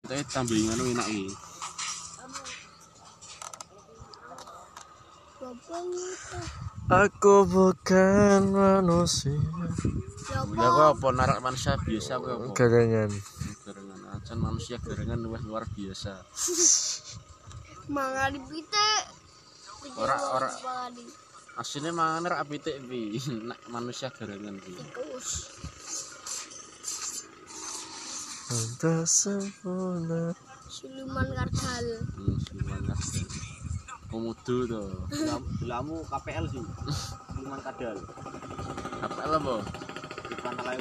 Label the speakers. Speaker 1: Dahil tumbling, ano enak eh.
Speaker 2: Mapunta.
Speaker 3: Aku bukan manusia
Speaker 1: Wala ko apa narak manusia biasa ko apa.
Speaker 3: Gagangan
Speaker 1: Gerengan acan manusia gerengan luwih luar biasa.
Speaker 2: Mangali pite.
Speaker 1: Ora, ora.
Speaker 2: Mangali.
Speaker 1: Asline mangan rak pitik pi. Nek manusia gerengan pi.
Speaker 2: Tikus.
Speaker 3: Untuk sempurna
Speaker 2: Siluman kardal.
Speaker 1: Hmm, siluman kadal. Komodo to.
Speaker 4: Dulamu KPL sih. Cuman kadal.
Speaker 1: Apa lah, Bo?
Speaker 4: Bukan lain